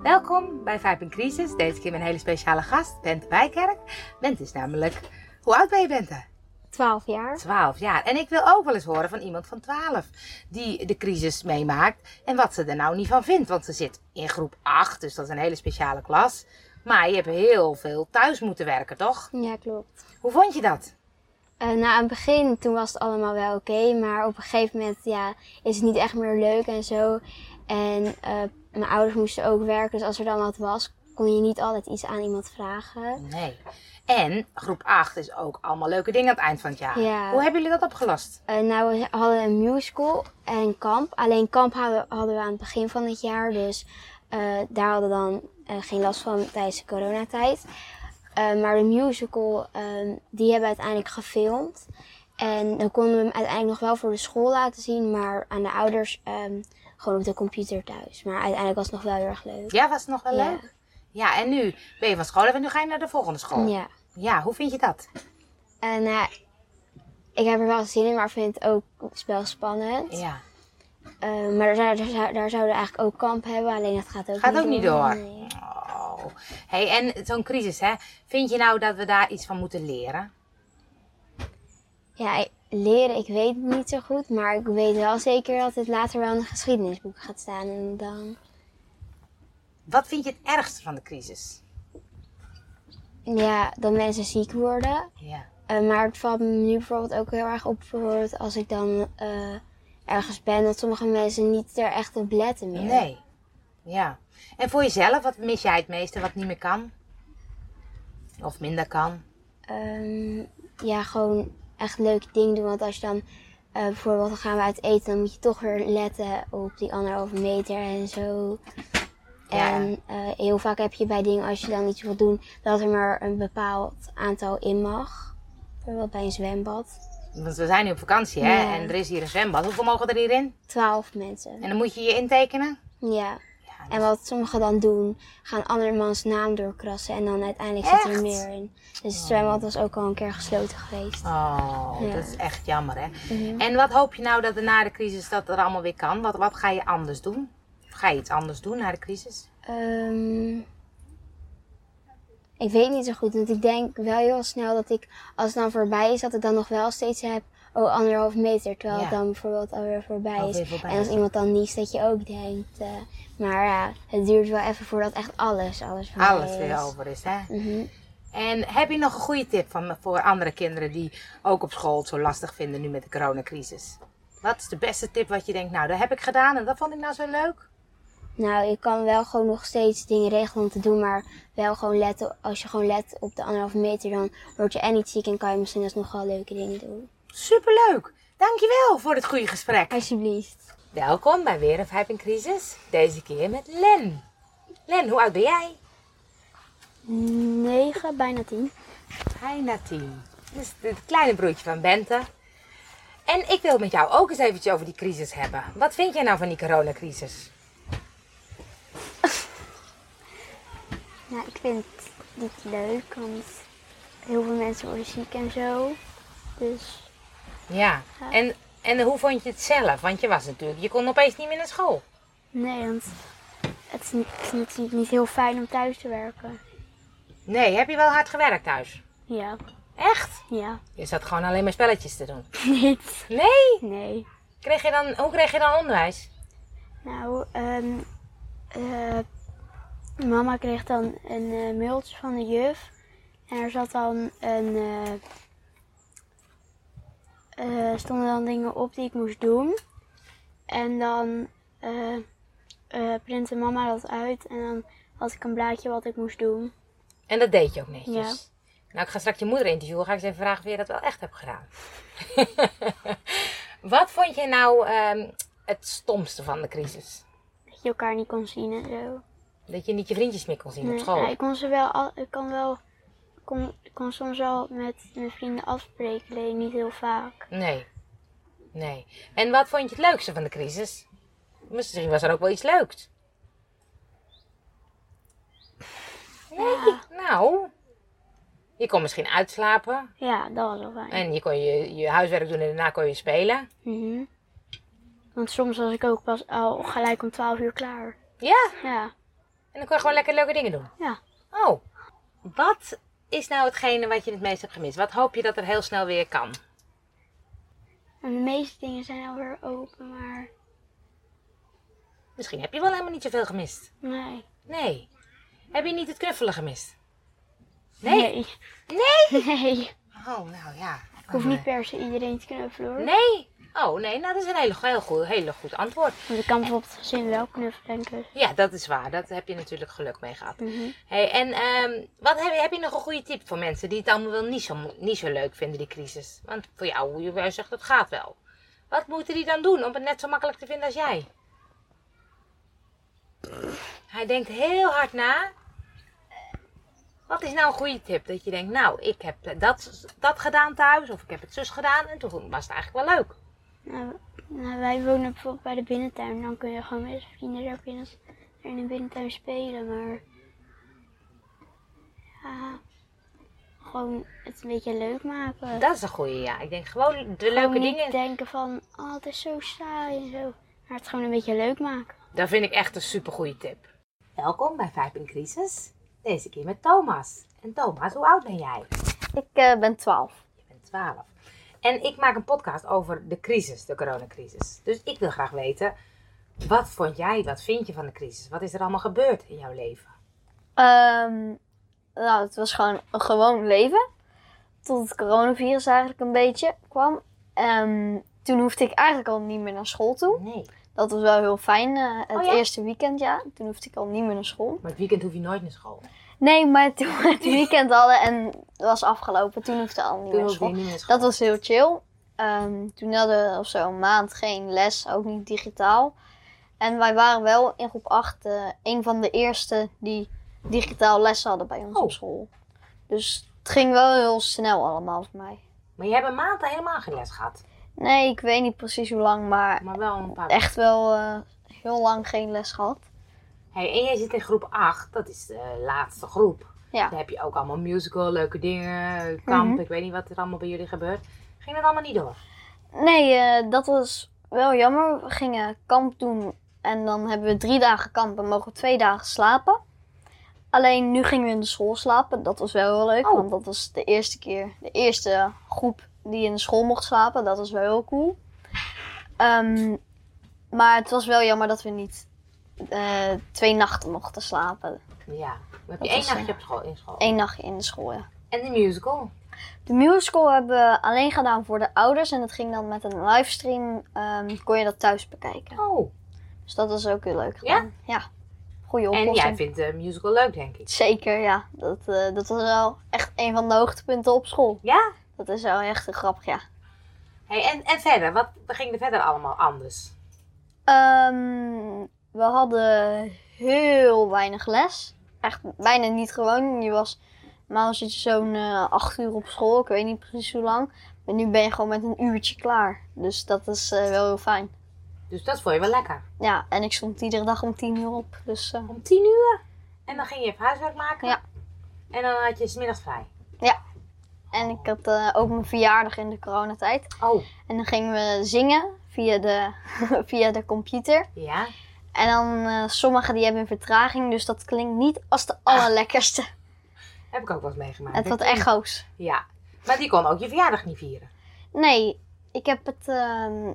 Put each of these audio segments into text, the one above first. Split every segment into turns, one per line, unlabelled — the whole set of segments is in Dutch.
Welkom bij Vibe in Crisis. Deze keer met een hele speciale gast, Bente Bijkerk. Bente is namelijk... Hoe oud ben je, Bente?
12 jaar.
12 jaar. En ik wil ook wel eens horen van iemand van 12 die de crisis meemaakt en wat ze er nou niet van vindt. Want ze zit in groep 8, dus dat is een hele speciale klas. Maar je hebt heel veel thuis moeten werken, toch?
Ja, klopt.
Hoe vond je dat?
Eh nou, aan het begin toen was het allemaal wel oké, maar op een gegeven moment ja, is het niet echt meer leuk en zo. En eh, mijn ouders moesten ook werken, dus als er dan wat was, kon je niet altijd iets aan iemand vragen.
Nee. En groep 8 is ook allemaal leuke dingen aan het eind van het jaar.
Ja.
Hoe hebben jullie dat opgelost?
Eh nou, we hadden een musical en kamp. Alleen kamp hadden, hadden we aan het begin van het jaar, dus eh, daar hadden we dan eh, geen last van tijdens de coronatijd. Eh, maar de musical, ehm, die hebben we uiteindelijk gefilmd. En dan konden we hem uiteindelijk nog wel voor de school laten zien, maar aan de ouders ehm, gewoon op de computer thuis. Maar uiteindelijk was het nog wel heel erg leuk.
Ja, was het nog wel
Ja.
leuk? Ja, en nu ben je van school af en nu ga je naar de volgende school.
Ja.
Ja, hoe vind je dat?
En eh, ik heb er wel zin in, maar vind het ook wel spannend.
Ja.
Eh, maar daar, zou- daar, zou- daar zouden we eigenlijk ook kamp hebben, alleen dat gaat ook
Gaat
niet
ook niet door.
Nee.
Oh. Hey, en zo'n crisis, hè? Vind je nou dat we daar iets van moeten leren?
Ja, ik- leren, ik weet het niet zo goed, maar ik weet wel zeker dat het later wel in een geschiedenisboek gaat staan. En dan,
Wat vind je het ergste van de crisis?
ja, dat mensen ziek worden.
Ja.
Eh, maar het valt me nu bijvoorbeeld ook heel erg op, bijvoorbeeld als ik dan eh, ergens ben, dat sommige mensen niet er echt op letten meer.
Nee. Ja. En voor jezelf, wat mis jij het meeste wat niet meer kan? Of minder kan?
Ehm, ja, gewoon echt leuke dingen doen. Want als je dan eh, bijvoorbeeld dan gaan we uit eten, dan moet je toch weer letten op die anderhalve meter en zo.
Ja.
En eh, heel vaak heb je bij dingen, als je dan iets wilt doen, dat er maar een bepaald aantal in mag. Bijvoorbeeld bij een zwembad.
Want we zijn nu op vakantie, hè?
Ja.
En er is hier een zwembad. Hoeveel mogen er hierin?
Twaalf mensen.
En dan moet je je intekenen?
Ja.
Ja, dus-
En wat sommigen dan doen, gaan andermans naam doorkrassen en dan uiteindelijk zit
Echt?
er meer in. Dus het zwembad was ook al een keer gesloten geweest.
Oh,
Ja.
dat is echt jammer, hè? En wat hoop je nou dat er na de crisis dat er allemaal weer kan? Wat, wat ga je anders doen? Of ga je iets anders doen na de crisis?
Ehm, ik weet niet zo goed, want ik denk wel heel snel dat ik, als het dan voorbij is, dat ik dan nog wel steeds heb, oh, anderhalf meter, terwijl het
Ja.
dan bijvoorbeeld alweer voorbij is.
Alweer voorbij
en als
is.
iemand dan niest, dat je ook denkt, eh, maar ja, het duurt wel even voordat echt alles, alles voorbij
Alles
is.
weer over is, hè?
Mhm.
En heb je nog een goede tip van, voor andere kinderen die ook op school het zo lastig vinden nu met de coronacrisis? Wat is de beste tip wat je denkt, nou, dat heb ik gedaan en dat vond ik nou zo leuk?
Nou, je kan wel gewoon nog steeds dingen regelen om te doen, maar wel gewoon letten, als je gewoon let op de anderhalve meter, dan word je en niet ziek en kan je misschien alsnog wel leuke dingen doen.
Superleuk! Dankjewel voor het goede gesprek.
Alsjeblieft.
Welkom bij weer een Vijf in Crisis. Deze keer met Len. Len, hoe oud ben jij?
9, bijna 10.
Bijna tien. Dus het kleine broertje van Bente. En ik wil het met jou ook eens eventjes over die crisis hebben. Wat vind jij nou van die coronacrisis?
Nou, ik vind het niet leuk, want heel veel mensen worden ziek en zo. Dus
Ja. En, en hoe vond je het zelf? Want je was natuurlijk, je kon opeens niet meer naar school.
nee, want het is, niet, het is natuurlijk niet heel fijn om thuis te werken.
Nee, heb je wel hard gewerkt thuis?
Ja,
Echt?
ja,
Je zat gewoon alleen maar spelletjes te doen.
niet.
Nee?
Nee.
Kreeg je dan, hoe kreeg je dan onderwijs?
Nou, ehm, eh, mama kreeg dan een eh, mailtje van de juf. En er zat dan een. eh eh, stonden dan dingen op die ik moest doen. En dan eh, eh, printte mama dat uit. En dan had ik een blaadje wat ik moest doen.
En dat deed je ook netjes.
Ja.
Nou, ik ga straks je moeder interviewen. Ga ik eens even vragen of je dat wel echt hebt gedaan. Wat vond je nou ehm, het stomste van de crisis?
Dat je elkaar niet kon zien en zo.
Dat je niet je vriendjes meer kon zien op
Nee,
school.
ja, ik kon ze wel. al- ik kon wel. ik Kon, ik kon soms wel met mijn vrienden afspreken, alleen niet heel vaak.
Nee. Nee. En wat vond je het leukste van de crisis? Misschien was er ook wel iets leuks. Nee. Nou. Je kon misschien uitslapen.
Ja, dat was wel fijn.
En je kon je, je huiswerk doen en daarna kon je spelen.
Mhm. Want soms was ik ook pas al gelijk om 12 uur klaar.
Ja.
Ja.
En dan kon je gewoon lekker leuke dingen doen.
Ja.
Oh, wat is nou hetgene wat je het meest hebt gemist? Wat hoop je dat er heel snel weer kan?
En de meeste dingen zijn alweer open, maar
Misschien heb je wel helemaal niet zoveel gemist.
nee.
Nee. Heb je niet het knuffelen gemist? Nee.
Nee.
Nee?
Nee.
Oh, nou ja.
Ik hoef niet per se iedereen te knuffelen hoor.
Nee. Oh, nee. Nou, dat is een hele, heel goed, hele goed antwoord.
Want ik kan bijvoorbeeld het gezin wel knuffelen en kussen.
Ja, dat is waar. Dat heb je natuurlijk geluk mee gehad.
Mhm.
Hey, en ehm, wat heb, je, heb je nog een goede tip voor mensen die het allemaal wel niet zo, mo- niet zo leuk vinden, die crisis? Want voor jou, hoe jij zegt, dat gaat wel. Wat moeten die dan doen om het net zo makkelijk te vinden als jij? Hij denkt heel hard na. Wat is nou een goede tip? Dat je denkt, nou, ik heb dat, dat gedaan thuis, of ik heb het zus gedaan, en toen was het eigenlijk wel leuk.
Nou, nou, wij wonen bijvoorbeeld bij de binnentuin. Dan kun je gewoon met z'n vrienden daar binnen in de binnentuin spelen. Maar ja, gewoon het een beetje leuk maken.
Dat is een goede, ja. Ik denk gewoon de
Eh. Gewoon
leuke
niet
dingen.
denken van, oh het is zo saai en zo. Maar het gewoon een beetje leuk maken.
Dat vind ik echt een supergoeie tip. Welkom bij Vijf in Crisis. Deze keer met Thomas. En Thomas, hoe oud ben jij?
Ik eh, ben 12.
Je bent 12. En ik maak een podcast over de crisis, de coronacrisis. Dus ik wil graag weten, wat vond jij, wat vind je van de crisis? Wat is er allemaal gebeurd in jouw leven?
Ehm, nou, het was gewoon een gewoon leven. Tot het coronavirus eigenlijk een beetje kwam. Ehm, toen hoefde ik eigenlijk al niet meer naar school toe.
Nee.
Dat was wel heel fijn. eh, het
Oh ja?
eerste weekend, ja. Toen hoefde ik al niet meer naar school.
Maar het weekend hoef je nooit naar school.
Nee, maar toen we het weekend hadden en het was afgelopen, toen hoefde ik al niet meer
Toen
naar
hoef je
school.
niet meer naar school.
Dat was heel chill. Ehm, toen hadden we of zo een maand geen les, ook niet digitaal. En wij waren wel in groep 8 eh, een van de eerste die digitaal les hadden bij ons
Oh.
op school. Dus het ging wel heel snel allemaal voor mij.
Maar je hebt een maand daar helemaal geen les gehad.
Nee, ik weet niet precies hoe lang, maar
Maar wel een paar...
echt wel eh, heel lang geen les gehad.
Hey, en jij zit in groep 8, dat is de laatste groep.
Ja.
Daar heb je ook allemaal musical, leuke dingen, kamp,
Mhm.
ik weet niet wat er allemaal bij jullie gebeurt. Ging dat allemaal niet door?
Nee, eh, dat was wel jammer. We gingen kamp doen en dan hebben we drie dagen kamp en mogen we twee dagen slapen. Alleen nu gingen we in de school slapen. Dat was wel heel leuk,
Oh.
want dat was de eerste keer, de eerste groep die in de school mocht slapen. Dat was wel heel cool. Ehm, maar het was wel jammer dat we niet eh, twee nachten mochten slapen.
Ja. Dan heb
Dat
je één
was,
nachtje
eh,
op school, in school.
Eén nachtje in de school, ja.
En de musical.
De musical hebben we alleen gedaan voor de ouders en dat ging dan met een livestream. ehm, kon je dat thuis bekijken.
Oh. Dus
Dus dat is ook heel leuk
Ja?
gedaan. Ja? Goeie
en
oplossing.
jij vindt de musical leuk, denk ik.
Zeker, ja. Dat, eh, dat was wel echt een van de hoogtepunten op school.
Ja?
Dat is wel echt heel grappig, ja.
Hey, en, en verder, wat ging er verder allemaal anders?
Ehm, we hadden heel weinig les. Echt bijna niet gewoon. Je was, normaal zit je zo'n eh, acht uur op school. Ik weet niet precies hoe lang. Maar nu ben je gewoon met een uurtje klaar. Dus dat is eh, wel heel fijn.
Dus dat vond je wel lekker.
Ja, en ik stond iedere dag om tien uur op. Dus eh,
Om tien uur. En dan ging je even huiswerk maken.
Ja.
En dan had je smiddags vrij.
en ik had eh, ook mijn verjaardag in de coronatijd.
Oh.
En dan gingen we zingen via de, via de computer.
Ja?
En dan eh sommigen die hebben een vertraging, dus dat klinkt niet als de allerlekkerste.
Heb ik ook wel eens meegemaakt.
Het had echo's.
Ja. Maar die kon ook je verjaardag niet vieren.
Nee, ik heb het ehm,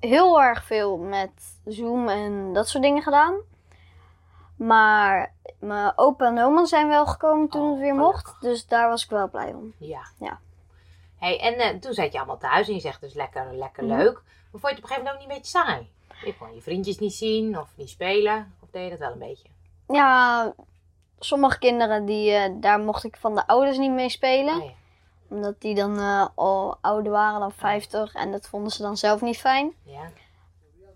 heel erg veel met Zoom en dat soort dingen gedaan. Maar mijn opa en oma zijn wel gekomen toen
Oh,
het weer
gelukkig.
mocht. Dus daar was ik wel blij om.
Ja.
Ja.
Hey, en eh, toen zat je allemaal thuis en je zegt dus lekker, lekker
Mhm.
leuk. Maar vond je het op een gegeven moment ook niet een beetje saai? Je kon je vriendjes niet zien of niet spelen. Of deed je dat wel een beetje?
Ja, sommige kinderen, die, eh, daar mocht ik van de ouders niet mee spelen.
Oh, ja.
Omdat die dan eh, al ouder waren dan 50 en dat vonden ze dan zelf niet fijn.
ja.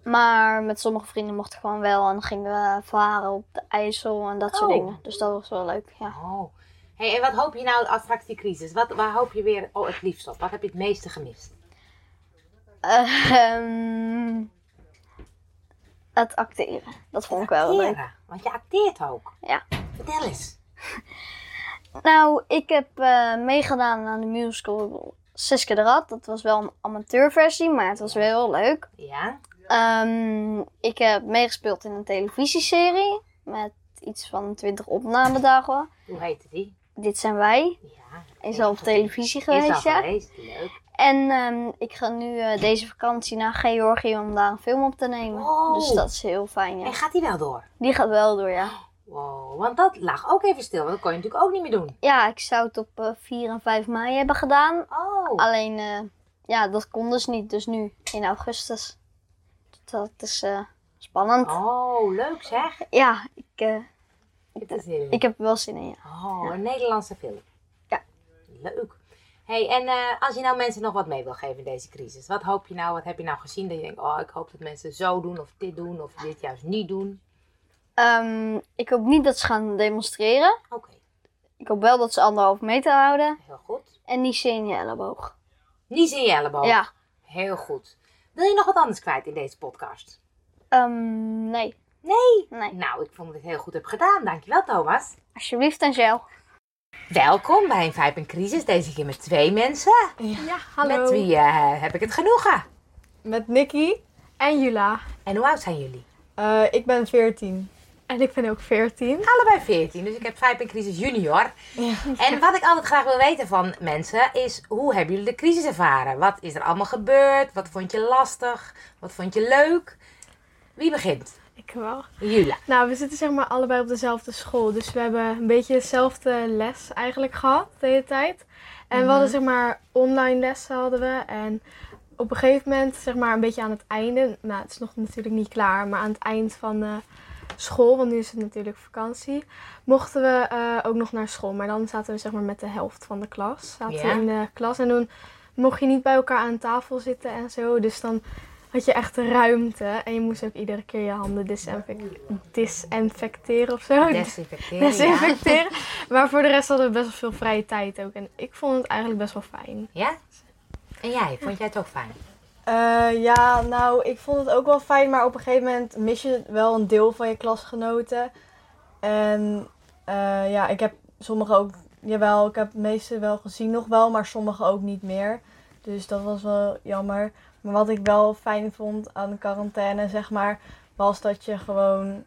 Maar met sommige vrienden mocht ik gewoon wel en dan gingen we varen op de IJssel en dat soort
Oh.
dingen. Dus dat was wel leuk, ja.
Oh. Hey, en wat hoop je nou als straks die crisis? Wat, waar hoop je weer oh, het liefst op? Wat heb je het meeste gemist?
Ehm, het acteren, dat vond ik wel leuk.
Acteren, want je acteert ook.
Ja.
Vertel eens.
Nou, ik heb eh, meegedaan aan de musical Siske de Rat. Dat was wel een amateurversie, maar het was wel heel leuk.
Ja?
Ehm, ik heb meegespeeld in een televisieserie. met iets van 20 opnamedagen.
Hoe heette die?
Dit zijn wij.
Ja.
Is al op televisie
Is al
geweest, ja.
geweest, leuk.
En ehm, ik ga nu eh, deze vakantie naar Georgië om daar een film op te nemen.
Wow.
Dus dat is heel fijn, ja.
Oh. En gaat die wel door?
Die gaat wel door, ja.
Wow, want dat lag ook even stil, want dat kon je natuurlijk ook niet meer doen.
Ja, ik zou het op eh, 4 en 5 mei hebben gedaan.
Oh,
Alleen, eh, ja, dat kon dus niet. Dus nu, in augustus. Dat is eh, spannend.
oh leuk zeg.
Ja, ik, eh,
Het is heel leuk.
ik heb er wel zin in, ja.
Oh, een Nederlandse film.
Ja.
Leuk. hey, en eh, als je nou mensen nog wat mee wil geven in deze crisis, wat hoop je nou, wat heb je nou gezien dat je denkt, oh, ik hoop dat mensen zo doen of dit doen of dit juist niet doen?
Ehm, ik hoop niet dat ze gaan demonstreren.
Oké,
Ik hoop wel dat ze anderhalf meter houden.
heel goed.
En niet zin in je elleboog.
Niet in je elleboog.
Ja.
Heel goed. Wil je nog wat anders kwijt in deze podcast?
Ehm, nee.
Nee?
Nee.
Nou, ik vond dat ik het heel goed heb gedaan. Dankjewel, Thomas.
Alsjeblieft en zelf.
Welkom bij een Vijf in Crisis. Deze keer met twee mensen.
Ja, hallo.
Met wie eh, heb ik het genoegen?
Met Nikki en Jula.
En hoe oud zijn jullie?
Eh, ik ben 14. En ik ben ook 14.
Allebei 14, dus ik heb Vijf in Crisis junior. En wat ik altijd graag wil weten van mensen is, hoe hebben jullie de crisis ervaren? Wat is er allemaal gebeurd? Wat vond je lastig? Wat vond je leuk? Wie begint?
Ik wel.
Jula.
Nou, we zitten zeg maar allebei op dezelfde school. Dus we hebben een beetje dezelfde les eigenlijk gehad de hele tijd. En
Mhm.
we hadden zeg maar online lessen hadden we. En op een gegeven moment, zeg maar een beetje aan het einde. Nou, het is nog natuurlijk niet klaar. Maar aan het eind van eh, school, want nu is het natuurlijk vakantie. Mochten we eh, ook nog naar school. Maar dan zaten we zeg maar met de helft van de klas. Zaten we
Ja.
in de klas. En toen mocht je niet bij elkaar aan tafel zitten en zo. Dus dan had je echt ruimte. En je moest ook iedere keer je handen disinfec- disinfecteren of zo.
Desinfecteren. ja.
Desinfecteren. Maar voor de rest hadden we best wel veel vrije tijd ook. En ik vond het eigenlijk best wel fijn.
Ja? En jij, vond jij het ook fijn?
Eh, ja, nou, ik vond het ook wel fijn, maar op een gegeven moment mis je wel een deel van je klasgenoten. En eh, ja, ik heb sommige ook, jawel, ik heb de meeste wel gezien nog wel, maar sommige ook niet meer. Dus dat was wel jammer. Maar wat ik wel fijn vond aan de quarantaine, zeg maar, was dat je gewoon,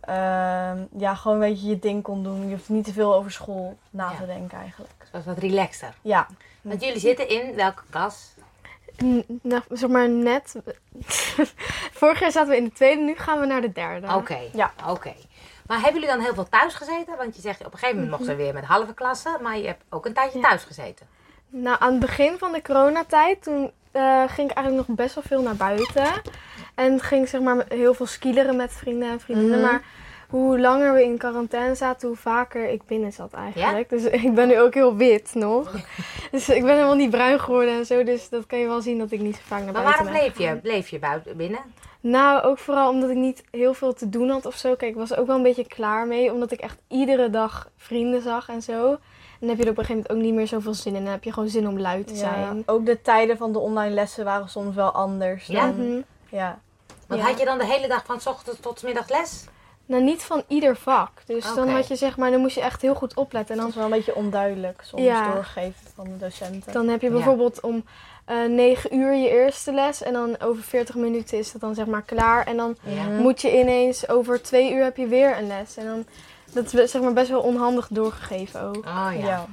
ehm, ja, gewoon een beetje je ding kon doen. Je hoeft niet te veel over school na
Ja.
te denken eigenlijk.
Het was wat relaxter.
Ja,
Want jullie zitten in welke klas?
N- nou, zeg maar net. Vorig jaar zaten we in de tweede, nu gaan we naar de derde.
Oké.
Ja.
Oké. Maar hebben jullie dan heel veel thuis gezeten? Want je zegt op een gegeven moment mochten ze weer met halve klassen, maar je hebt ook een tijdje thuis gezeten.
Nou, aan het begin van de coronatijd, toen eh, ging ik eigenlijk nog best wel veel naar buiten. En ging ik, zeg maar met- heel veel skileren met vrienden en vriendinnen.
Mhm.
Maar hoe langer we in quarantaine zaten, hoe vaker ik binnen zat eigenlijk. Dus ik ben nu ook heel wit nog. dus ik ben helemaal niet bruin geworden en zo. Dus dat kan je wel zien dat ik niet zo vaak naar
Maar
buiten
waarom
ben.
bleef je, bleef je buiten, binnen?
Nou, ook vooral omdat ik niet heel veel te doen had of zo. Kijk, ik was er ook wel een beetje klaar mee. Omdat ik echt iedere dag vrienden zag en zo. En dan heb je er op een gegeven moment ook niet meer zoveel zin in. Dan heb je gewoon zin om lui te
ja.
zijn.
ook de tijden van de online lessen waren soms wel anders.
Ja?
Dan,
Mhm.
ja.
Want
Ja.
had je dan de hele dag van 's ochtends tot 's middags les?
Nou, niet van ieder vak. Dus dan
Oké.
had je zeg maar, dan moest je echt heel goed opletten. En
Dat
dan,
is wel een beetje onduidelijk soms
Ja.
doorgegeven van de docenten.
dan heb je
Ja.
bijvoorbeeld om eh 9 uur je eerste les. En dan over 40 minuten is dat dan zeg maar klaar. En dan
Ja.
moet je ineens over 2 uur heb je weer een les. En dan, dat is zeg maar best wel onhandig doorgegeven ook.
Oh ja.
ja.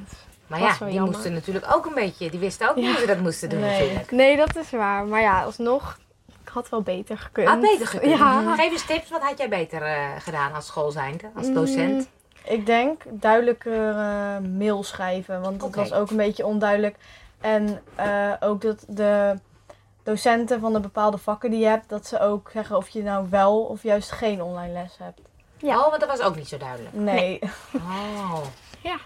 Maar
dat
ja,
is wel
die
jammer.
moesten natuurlijk ook een beetje, die wisten ook niet hoe ze dat moesten doen
Nee.
natuurlijk.
Nee, dat is waar. Maar ja, alsnog, ik had wel beter gekund.
Had beter gekund.
Ja. Mm,
Geef eens tips, wat had jij beter eh, gedaan als school zijnde, als docent?
Mm, Ik denk duidelijker eh, mail schrijven, want dat
Oké.
was ook een beetje onduidelijk. En eh, ook dat de docenten van de bepaalde vakken die je hebt, dat ze ook zeggen of je nou wel of juist geen online les hebt.
Ja.
Oh, want dat was ook niet zo duidelijk.
Nee.
Oh.
Ja.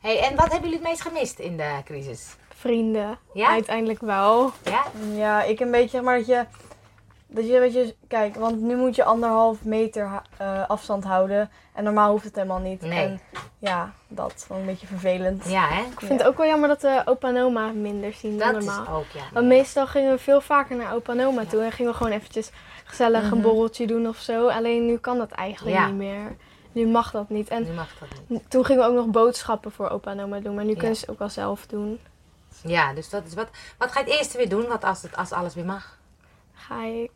Hey, en wat hebben jullie het meest gemist in de crisis?
Vrienden,
Ja?
uiteindelijk wel.
Ja?
Ja, ik een beetje, zeg maar dat je. Dat je, weet je, kijk, want nu moet je anderhalf meter ha- eh, afstand houden. En normaal hoeft het helemaal niet.
Nee.
En ja, dat vond ik een beetje vervelend.
Ja, hè?
Ik vind het ook wel jammer dat we opa en oma minder zien dan
Dat is
normaal.
ook, ja.
Want meestal gingen we veel vaker naar opa en oma toe en gingen we gewoon eventjes gezellig een borreltje doen of zo. Alleen nu kan dat eigenlijk
Mhm. Ja.
niet meer. Nu mag dat niet. En
Nu mag dat niet.
toen gingen we ook nog boodschappen voor opa en oma doen, maar nu
Ja.
kunnen ze het ook wel zelf doen.
Ja, dus dat is wat. Wat ga je het eerste weer doen? Wat als, het, als alles weer mag?
Ga ik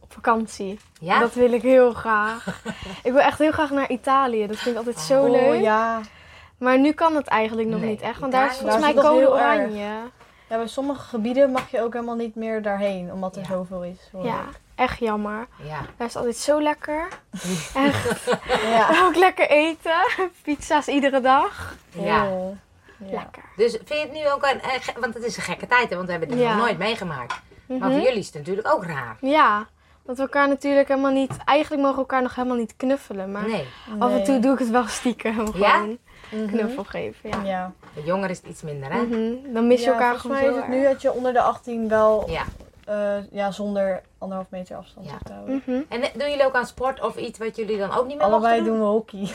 op op vakantie.
Ja?
Dat wil ik heel graag. ik wil echt heel graag naar Italië. Dat vind ik altijd zo
Oh,
leuk.
ja.
Maar nu kan het eigenlijk nog
Nee,
niet echt. Want
Italië-
daar is volgens
Daar
mij
is het nog
code
heel erg.
oranje.
Ja, bij sommige gebieden mag je ook helemaal niet meer daarheen, omdat er
Ja.
zoveel is. hoor
Ja, echt jammer.
ja.
Daar is het altijd zo lekker. echt.
ik. Ja.
Ook lekker eten. Pizza's iedere dag.
ja.
Oh. Ja.
Lekker.
Dus vind je het nu ook een... eh, ge- Want het is een gekke tijd, hè? Want we hebben dit
Ja.
nog nooit meegemaakt. Maar
Mhm.
voor jullie is het natuurlijk ook raar.
Ja, want we elkaar natuurlijk helemaal niet... Eigenlijk mogen we elkaar nog helemaal niet knuffelen. Maar
Nee.
af en
Nee. Mhm.
toe doe ik het wel stiekem.
Ja?
Gewoon knuffel geven. Ja.
Ja.
Bij jongeren is het iets minder, hè?
Mhm. Dan mis je
Ja,
elkaar
volgens
gewoon
mij is
zo
het
erg.
nu dat je onder de 18 wel
Ja.
eh, ja, zonder anderhalf meter afstand
Ja.
hebt te houden.
Mhm.
En eh, doen jullie ook aan sport of iets wat jullie Mm, dan ook niet meer
Allebei
mochten
doen we hockey.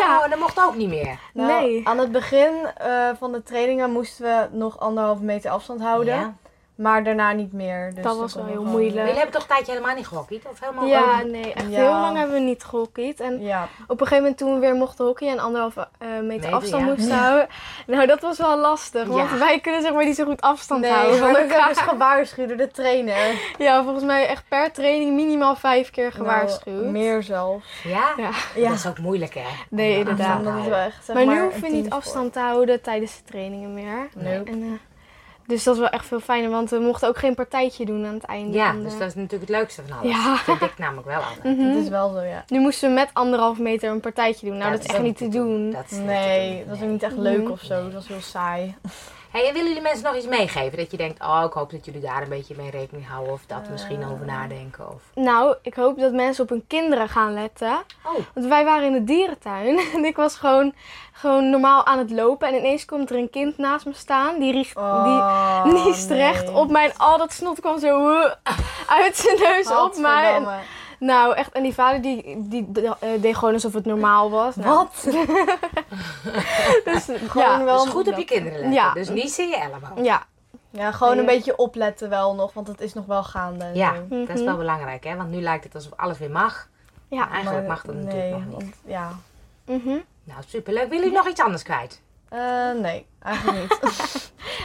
Ja.
Oh, dat mocht ook niet meer.
Nou,
Nee.
Aan het begin eh, van de trainingen moesten we nog anderhalve meter afstand houden.
Ja.
Maar daarna niet meer. Dus
Dat was
kon
wel heel
gewoon-
Maar Jullie
moeilijk.
hebben toch een tijdje helemaal niet gehockeyd? Of helemaal
Ja,
ook-
nee, echt
Ja.
heel lang hebben we niet gehockeyd. En
Ja,
op een gegeven moment toen we weer mochten hockeyen en anderhalve eh, meter
Meter,
afstand
ja.
moesten houden. Nou, dat was wel lastig, want
Ja.
wij kunnen zeg maar niet zo goed afstand
nee,
houden van
maar dat
elkaar.
werd dus gewaarschuwd door de trainer.
Ja, volgens mij echt per training minimaal vijf keer gewaarschuwd.
Nou, meer zelfs.
Ja?
Ja.
Ja.
Dat is ook moeilijk, hè?
Nee,
Om
inderdaad.
afstand te
Dat is
houden.
wel echt, zeg
maar, nu
een
hoef je niet
teamsport.
afstand te houden tijdens de trainingen meer.
Nee.
En, eh, dus dat is wel echt veel fijner, want we mochten ook geen partijtje doen aan het einde.
Ja,
van de-
dus dat is natuurlijk het leukste van alles.
eh. Ja.
Vind ik namelijk wel altijd.
Mhm.
Dat is wel zo, ja.
Nu moesten we met anderhalf meter een partijtje doen. Nou,
Ja,
dat is echt niet te doen.
Dat is niet te
Nee,
doen,
dat is
nee.
ook niet echt leuk
Mhm.
of zo. Dat was heel saai.
Hey, en willen jullie mensen nog iets meegeven? Dat je denkt, oh, ik hoop dat jullie daar een beetje mee rekening houden. Of
Eh.
dat misschien over nadenken. Of...
Nou, ik hoop dat mensen op hun kinderen gaan letten.
Oh,
Want wij waren in de dierentuin en ik was gewoon, gewoon normaal aan het lopen. En ineens komt er een kind naast me staan. Die richt,
Oh,
die niest
nee.
recht op mij. En al dat snot kwam zo uh, uit zijn neus op mij. En-
Godverdamme.
nou, echt. En die vader die, die eh, deed gewoon alsof het normaal was. Nou,
Wat?
Dus,
Gewoon
ja.
wel
dus goed op je kinderen letten.
Ja.
Dus niet in je elleboog.
Ja.
Ja, gewoon een
Nee.
beetje opletten wel nog, want het is nog wel gaande. en
Ja,
zo.
dat is wel belangrijk, hè? Want nu lijkt het alsof alles weer mag.
Mhm. Ja.
Maar eigenlijk
Maar
mag dat
nee,
natuurlijk nog niet.
want- ja.
Mhm.
Nou, superleuk. Willen jullie nog iets anders kwijt?
Eh, nee, eigenlijk niet.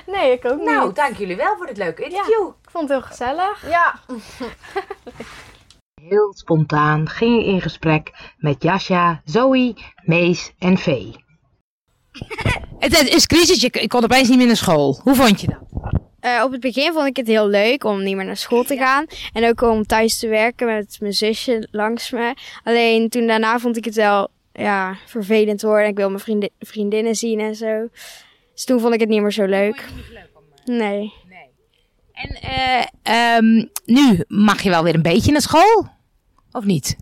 Nee, ik ook
Nou,
niet.
dank jullie wel voor dit leuke interview.
Ik vond het heel gezellig.
ja.
Heel spontaan ging ik in gesprek met Jasja, Zoe, Mees en Vee. Het is crisis, ik ik kon opeens niet meer naar school. Hoe vond je dat?
Eh, op het begin vond ik het heel leuk om niet meer naar school te gaan. En ook om thuis te werken met mijn zusje langs me. Alleen toen daarna vond ik het wel ja, vervelend hoor. En ik wil mijn vriendin, vriendinnen zien en zo. Dus toen vond ik het niet meer zo leuk. Nee.
eh, En eh, ehm, nu mag je wel weer een beetje naar school? Of niet?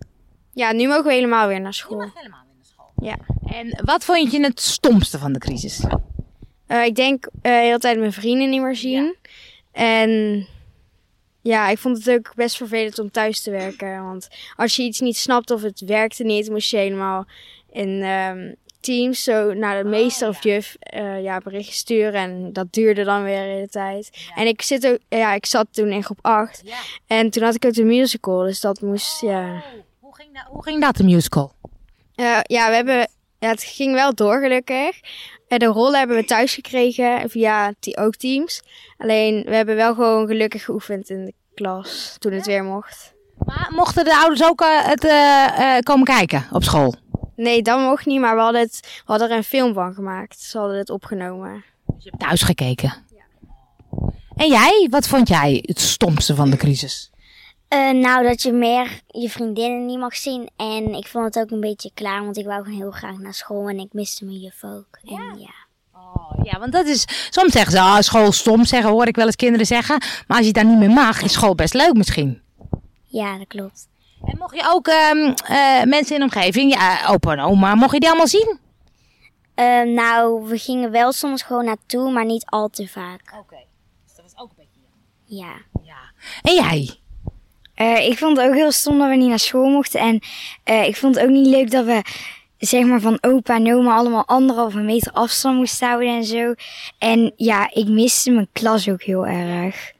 Ja, nu mogen we helemaal weer naar school.
Helemaal weer naar school.
Ja.
En wat vond je het stomste van de crisis?
Eh, ik denk eh de hele tijd mijn vrienden niet meer zien. En ja, ik vond het ook best vervelend om thuis te werken. Want als je iets niet snapt of het werkte niet, moest je helemaal in ehm, teams zo naar de meester of juf eh, Oh, ja, berichten sturen. En dat duurde dan weer de hele tijd. En ik, zit ook, ja, ik zat toen in groep 8.
Ja.
En toen had ik ook de musical, dus dat moest... Ja.
Hoe ging dat, hoe ging dat de musical?
Eh, ja, we hebben, ja, het ging wel door gelukkig. Eh, de rollen hebben we thuis gekregen via die, ook teams. Alleen we hebben wel gewoon gelukkig geoefend in de klas toen het weer mocht.
Maar mochten de ouders ook eh, het eh, eh, komen kijken op school?
Nee, dat mocht niet, maar we hadden, het, we hadden er een film van gemaakt. Ze hadden het opgenomen.
Je hebt thuis gekeken. En jij, wat vond jij het stomste van de crisis?
Eh, nou, dat je meer je vriendinnen niet mag zien. En ik vond het ook een beetje klaar, want ik wou gewoon heel graag naar school en ik miste mijn juf ook. En ja.
Oh, ja, want dat is. Soms zeggen ze, ah, school is stom, zeggen, hoor ik wel eens kinderen zeggen. Maar als je daar niet meer mag, is school best leuk misschien.
ja, dat klopt.
En mocht je ook ehm, eh, mensen in de omgeving, ja, opa en oma, mocht je die allemaal zien?
Eh, nou, we gingen wel soms gewoon naartoe, maar niet al te vaak.
Oké, dus dat was ook een beetje.
Ja.
Ja. En jij?
Eh, ik vond het ook heel stom dat we niet naar school mochten. En eh, ik vond het ook niet leuk dat we zeg maar van opa en oma allemaal anderhalve meter afstand moesten houden en zo. En ja, ik miste mijn klas ook heel erg.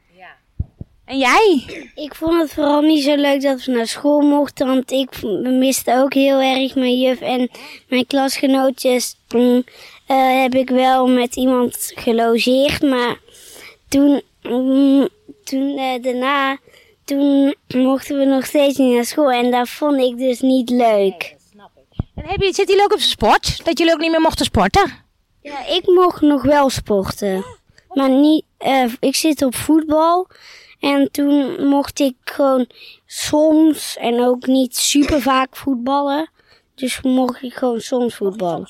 En jij?
Ik vond het vooral niet zo leuk dat we naar school mochten, want ik v- miste ook heel erg mijn juf en mijn klasgenootjes. Mm, eh, heb ik wel met iemand gelogeerd, maar toen, mm, toen eh, daarna
toen mochten we nog steeds niet naar school. En dat vond ik dus niet leuk.
En heb je, zit jullie ook op zijn sport? Dat jullie ook niet meer mochten sporten?
Ja, ik mocht nog wel sporten. Maar niet, eh, ik zit op voetbal. En toen mocht ik gewoon soms en ook niet super vaak voetballen. Dus mocht ik gewoon soms voetballen.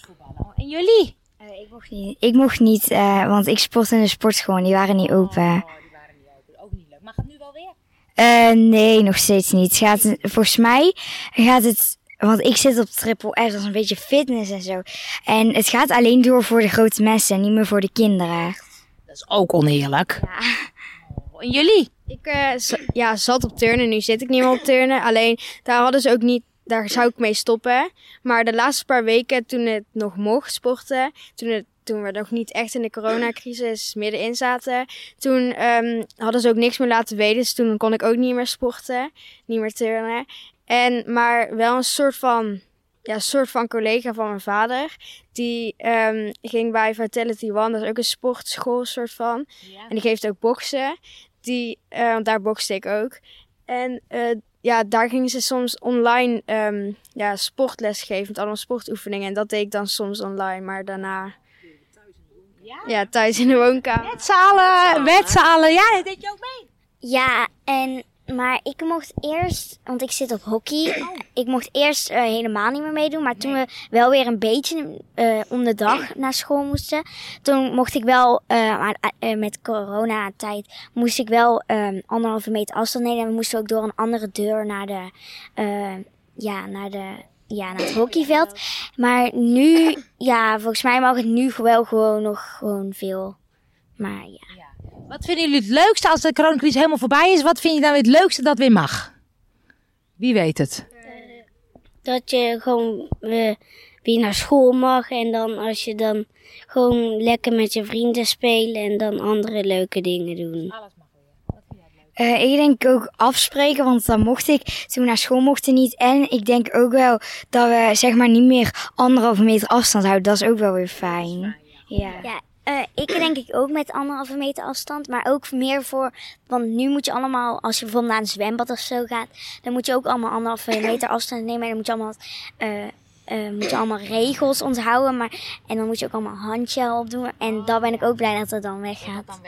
En jullie?
Eh, Ik mocht niet, ik mocht niet eh, want ik sportte in de sportschool en die waren niet open.
Ook Oh, niet leuk. Mag het nu wel weer?
Eh, nee, nog steeds niet. Gaat, het- volgens mij gaat het. Want ik zit op triple S, dat is een beetje fitness en zo. En het gaat alleen door voor de grote mensen en niet meer voor de kinderen.
Dat is ook oneerlijk. Oh, En jullie?
Ik eh, z- ja, zat op turnen, nu zit ik niet meer op turnen. Alleen daar hadden ze ook niet, daar zou ik mee stoppen. Maar de laatste paar weken toen het nog mocht sporten, toen, het, toen we nog niet echt in de coronacrisis middenin zaten, toen ehm, hadden ze ook niks meer laten weten. Dus toen kon ik ook niet meer sporten, niet meer turnen. En, maar wel een soort van, ja, soort van collega van mijn vader. Die ehm, ging bij Vitality One, dat is ook een sportschool soort van. En die geeft ook boksen. Die, eh, want daar bokste ik ook. En eh, ja, daar gingen ze soms online ehm, ja, sportles geven met allemaal sportoefeningen. En dat deed ik dan soms online, maar daarna... Ja, thuis in de woonkamer.
Wetzalen, wetzalen. Ja, dat deed je ook mee.
Ja, en, maar ik mocht eerst, want ik zit op hockey. Ik mocht eerst eh, helemaal niet meer meedoen. Maar toen we wel weer een beetje eh, om de dag naar school moesten. Toen mocht ik wel, eh, maar, eh, met corona-tijd, moest ik wel eh, anderhalve meter afstand nemen. En we moesten ook door een andere deur naar de, eh, ja, naar de, ja, naar het hockeyveld. Maar nu, ja, volgens mij mag het nu wel gewoon nog gewoon veel. Maar ja.
Wat vinden jullie het leukste als de coronacrisis helemaal voorbij is? Wat vind je dan
nou
weer het leukste dat weer mag? Wie weet het?
dat je gewoon eh, weer naar school mag. En dan als je dan gewoon lekker met je vrienden spelen en dan andere leuke dingen doen.
Eh, ik denk ook afspreken, want dat mocht ik toen we naar school mochten niet. En ik denk ook wel dat we zeg maar niet meer anderhalve meter afstand houden. Dat is ook wel weer fijn. Ja.
Ja, eh, ik denk ik ook met anderhalve meter afstand. Maar ook meer voor, want nu moet je allemaal, als je bijvoorbeeld naar een zwembad of zo gaat. Dan moet je ook allemaal anderhalve meter afstand nemen. En dan moet je allemaal... eh, eh, moet je allemaal regels onthouden. Maar, en dan moet je ook allemaal handje opdoen. En daar ben ik ook blij dat dat dan weggaat.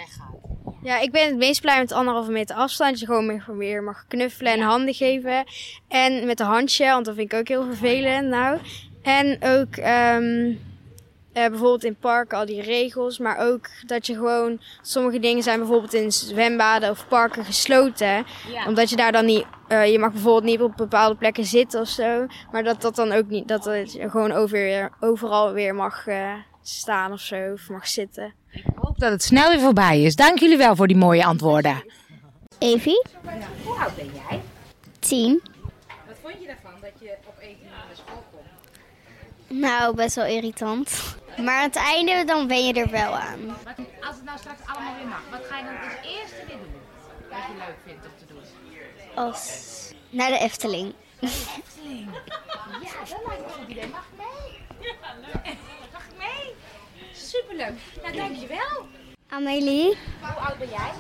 Ja, ik ben het meest blij met anderhalve meter afstand. Dat je gewoon meer, meer mag knuffelen en handen geven. En met een handje, want dat vind ik ook heel vervelend nou. En ook ehm, eh, bijvoorbeeld in parken al die regels. Maar ook dat je gewoon... Sommige dingen zijn bijvoorbeeld in zwembaden of parken gesloten. Omdat je daar dan niet... eh, je mag bijvoorbeeld niet op bepaalde plekken zitten of zo. Maar dat dat dan ook niet... Dat het gewoon over, overal weer mag eh, staan of zo. Of mag zitten.
Ik hoop dat het snel weer voorbij is. Dank jullie wel voor die mooie antwoorden.
Evie?
Hoe oud ben jij?
Tien.
Wat vond je daarvan dat je op één uur naar school komt?
Nou, best wel irritant. Maar aan het einde dan ben je er wel
Ehm.
aan.
als het nou straks allemaal weer mag, wat ga je dan als eerste weer doen? Wat je leuk vindt om te doen.
Als naar de Efteling.
Ja, dat lijkt me een goed idee. Mag ik mee? Mag ik mee? Superleuk. Nou, dankjewel.
Amelie,
Hoe oud ben jij?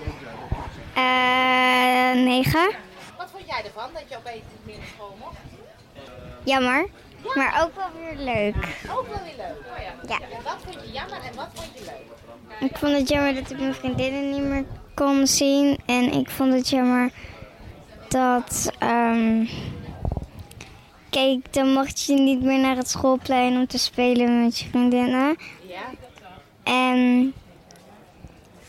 eh, negen.
Wat vond jij ervan dat je op één uur meer naar school mocht?
Jammer, maar ook wel weer leuk.
Ook wel weer leuk. Oh ja.
Ja.
En wat vond je jammer en wat vond je leuk?
Ik vond het jammer dat ik mijn vriendinnen niet meer kon zien. En ik vond het jammer dat. ehm, kijk, dan mocht je niet meer naar het schoolplein om te spelen met je vriendinnen.
Ja.
En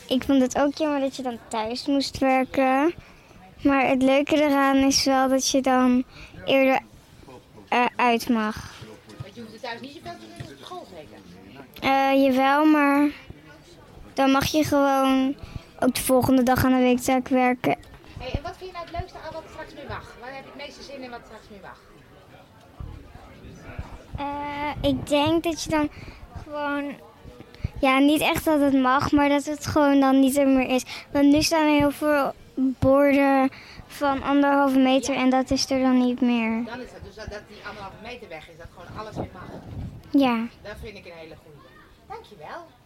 ik vond het ook jammer dat je dan thuis moest werken. Maar het leuke eraan is wel dat je dan eerder eh, uit mag.
Want je hoeft thuis niet zoveel te doen als op school zeker.
Eh, jawel, maar dan mag je gewoon ook de volgende dag aan de weektaak werken.
Hey, en wat vind je nou het leukste aan wat straks weer mag? Waar heb je het meeste zin in wat straks weer mag?
Eh, ik denk dat je dan gewoon. Ja, niet echt dat het mag, maar dat het gewoon dan niet er meer is. Want nu staan er heel veel borden van anderhalve meter en dat is er dan niet meer.
Dan is dat dus dat, dat die anderhalve meter weg is, dat gewoon alles weer mag.
Ja.
Dat vind ik een hele goede. Dankjewel.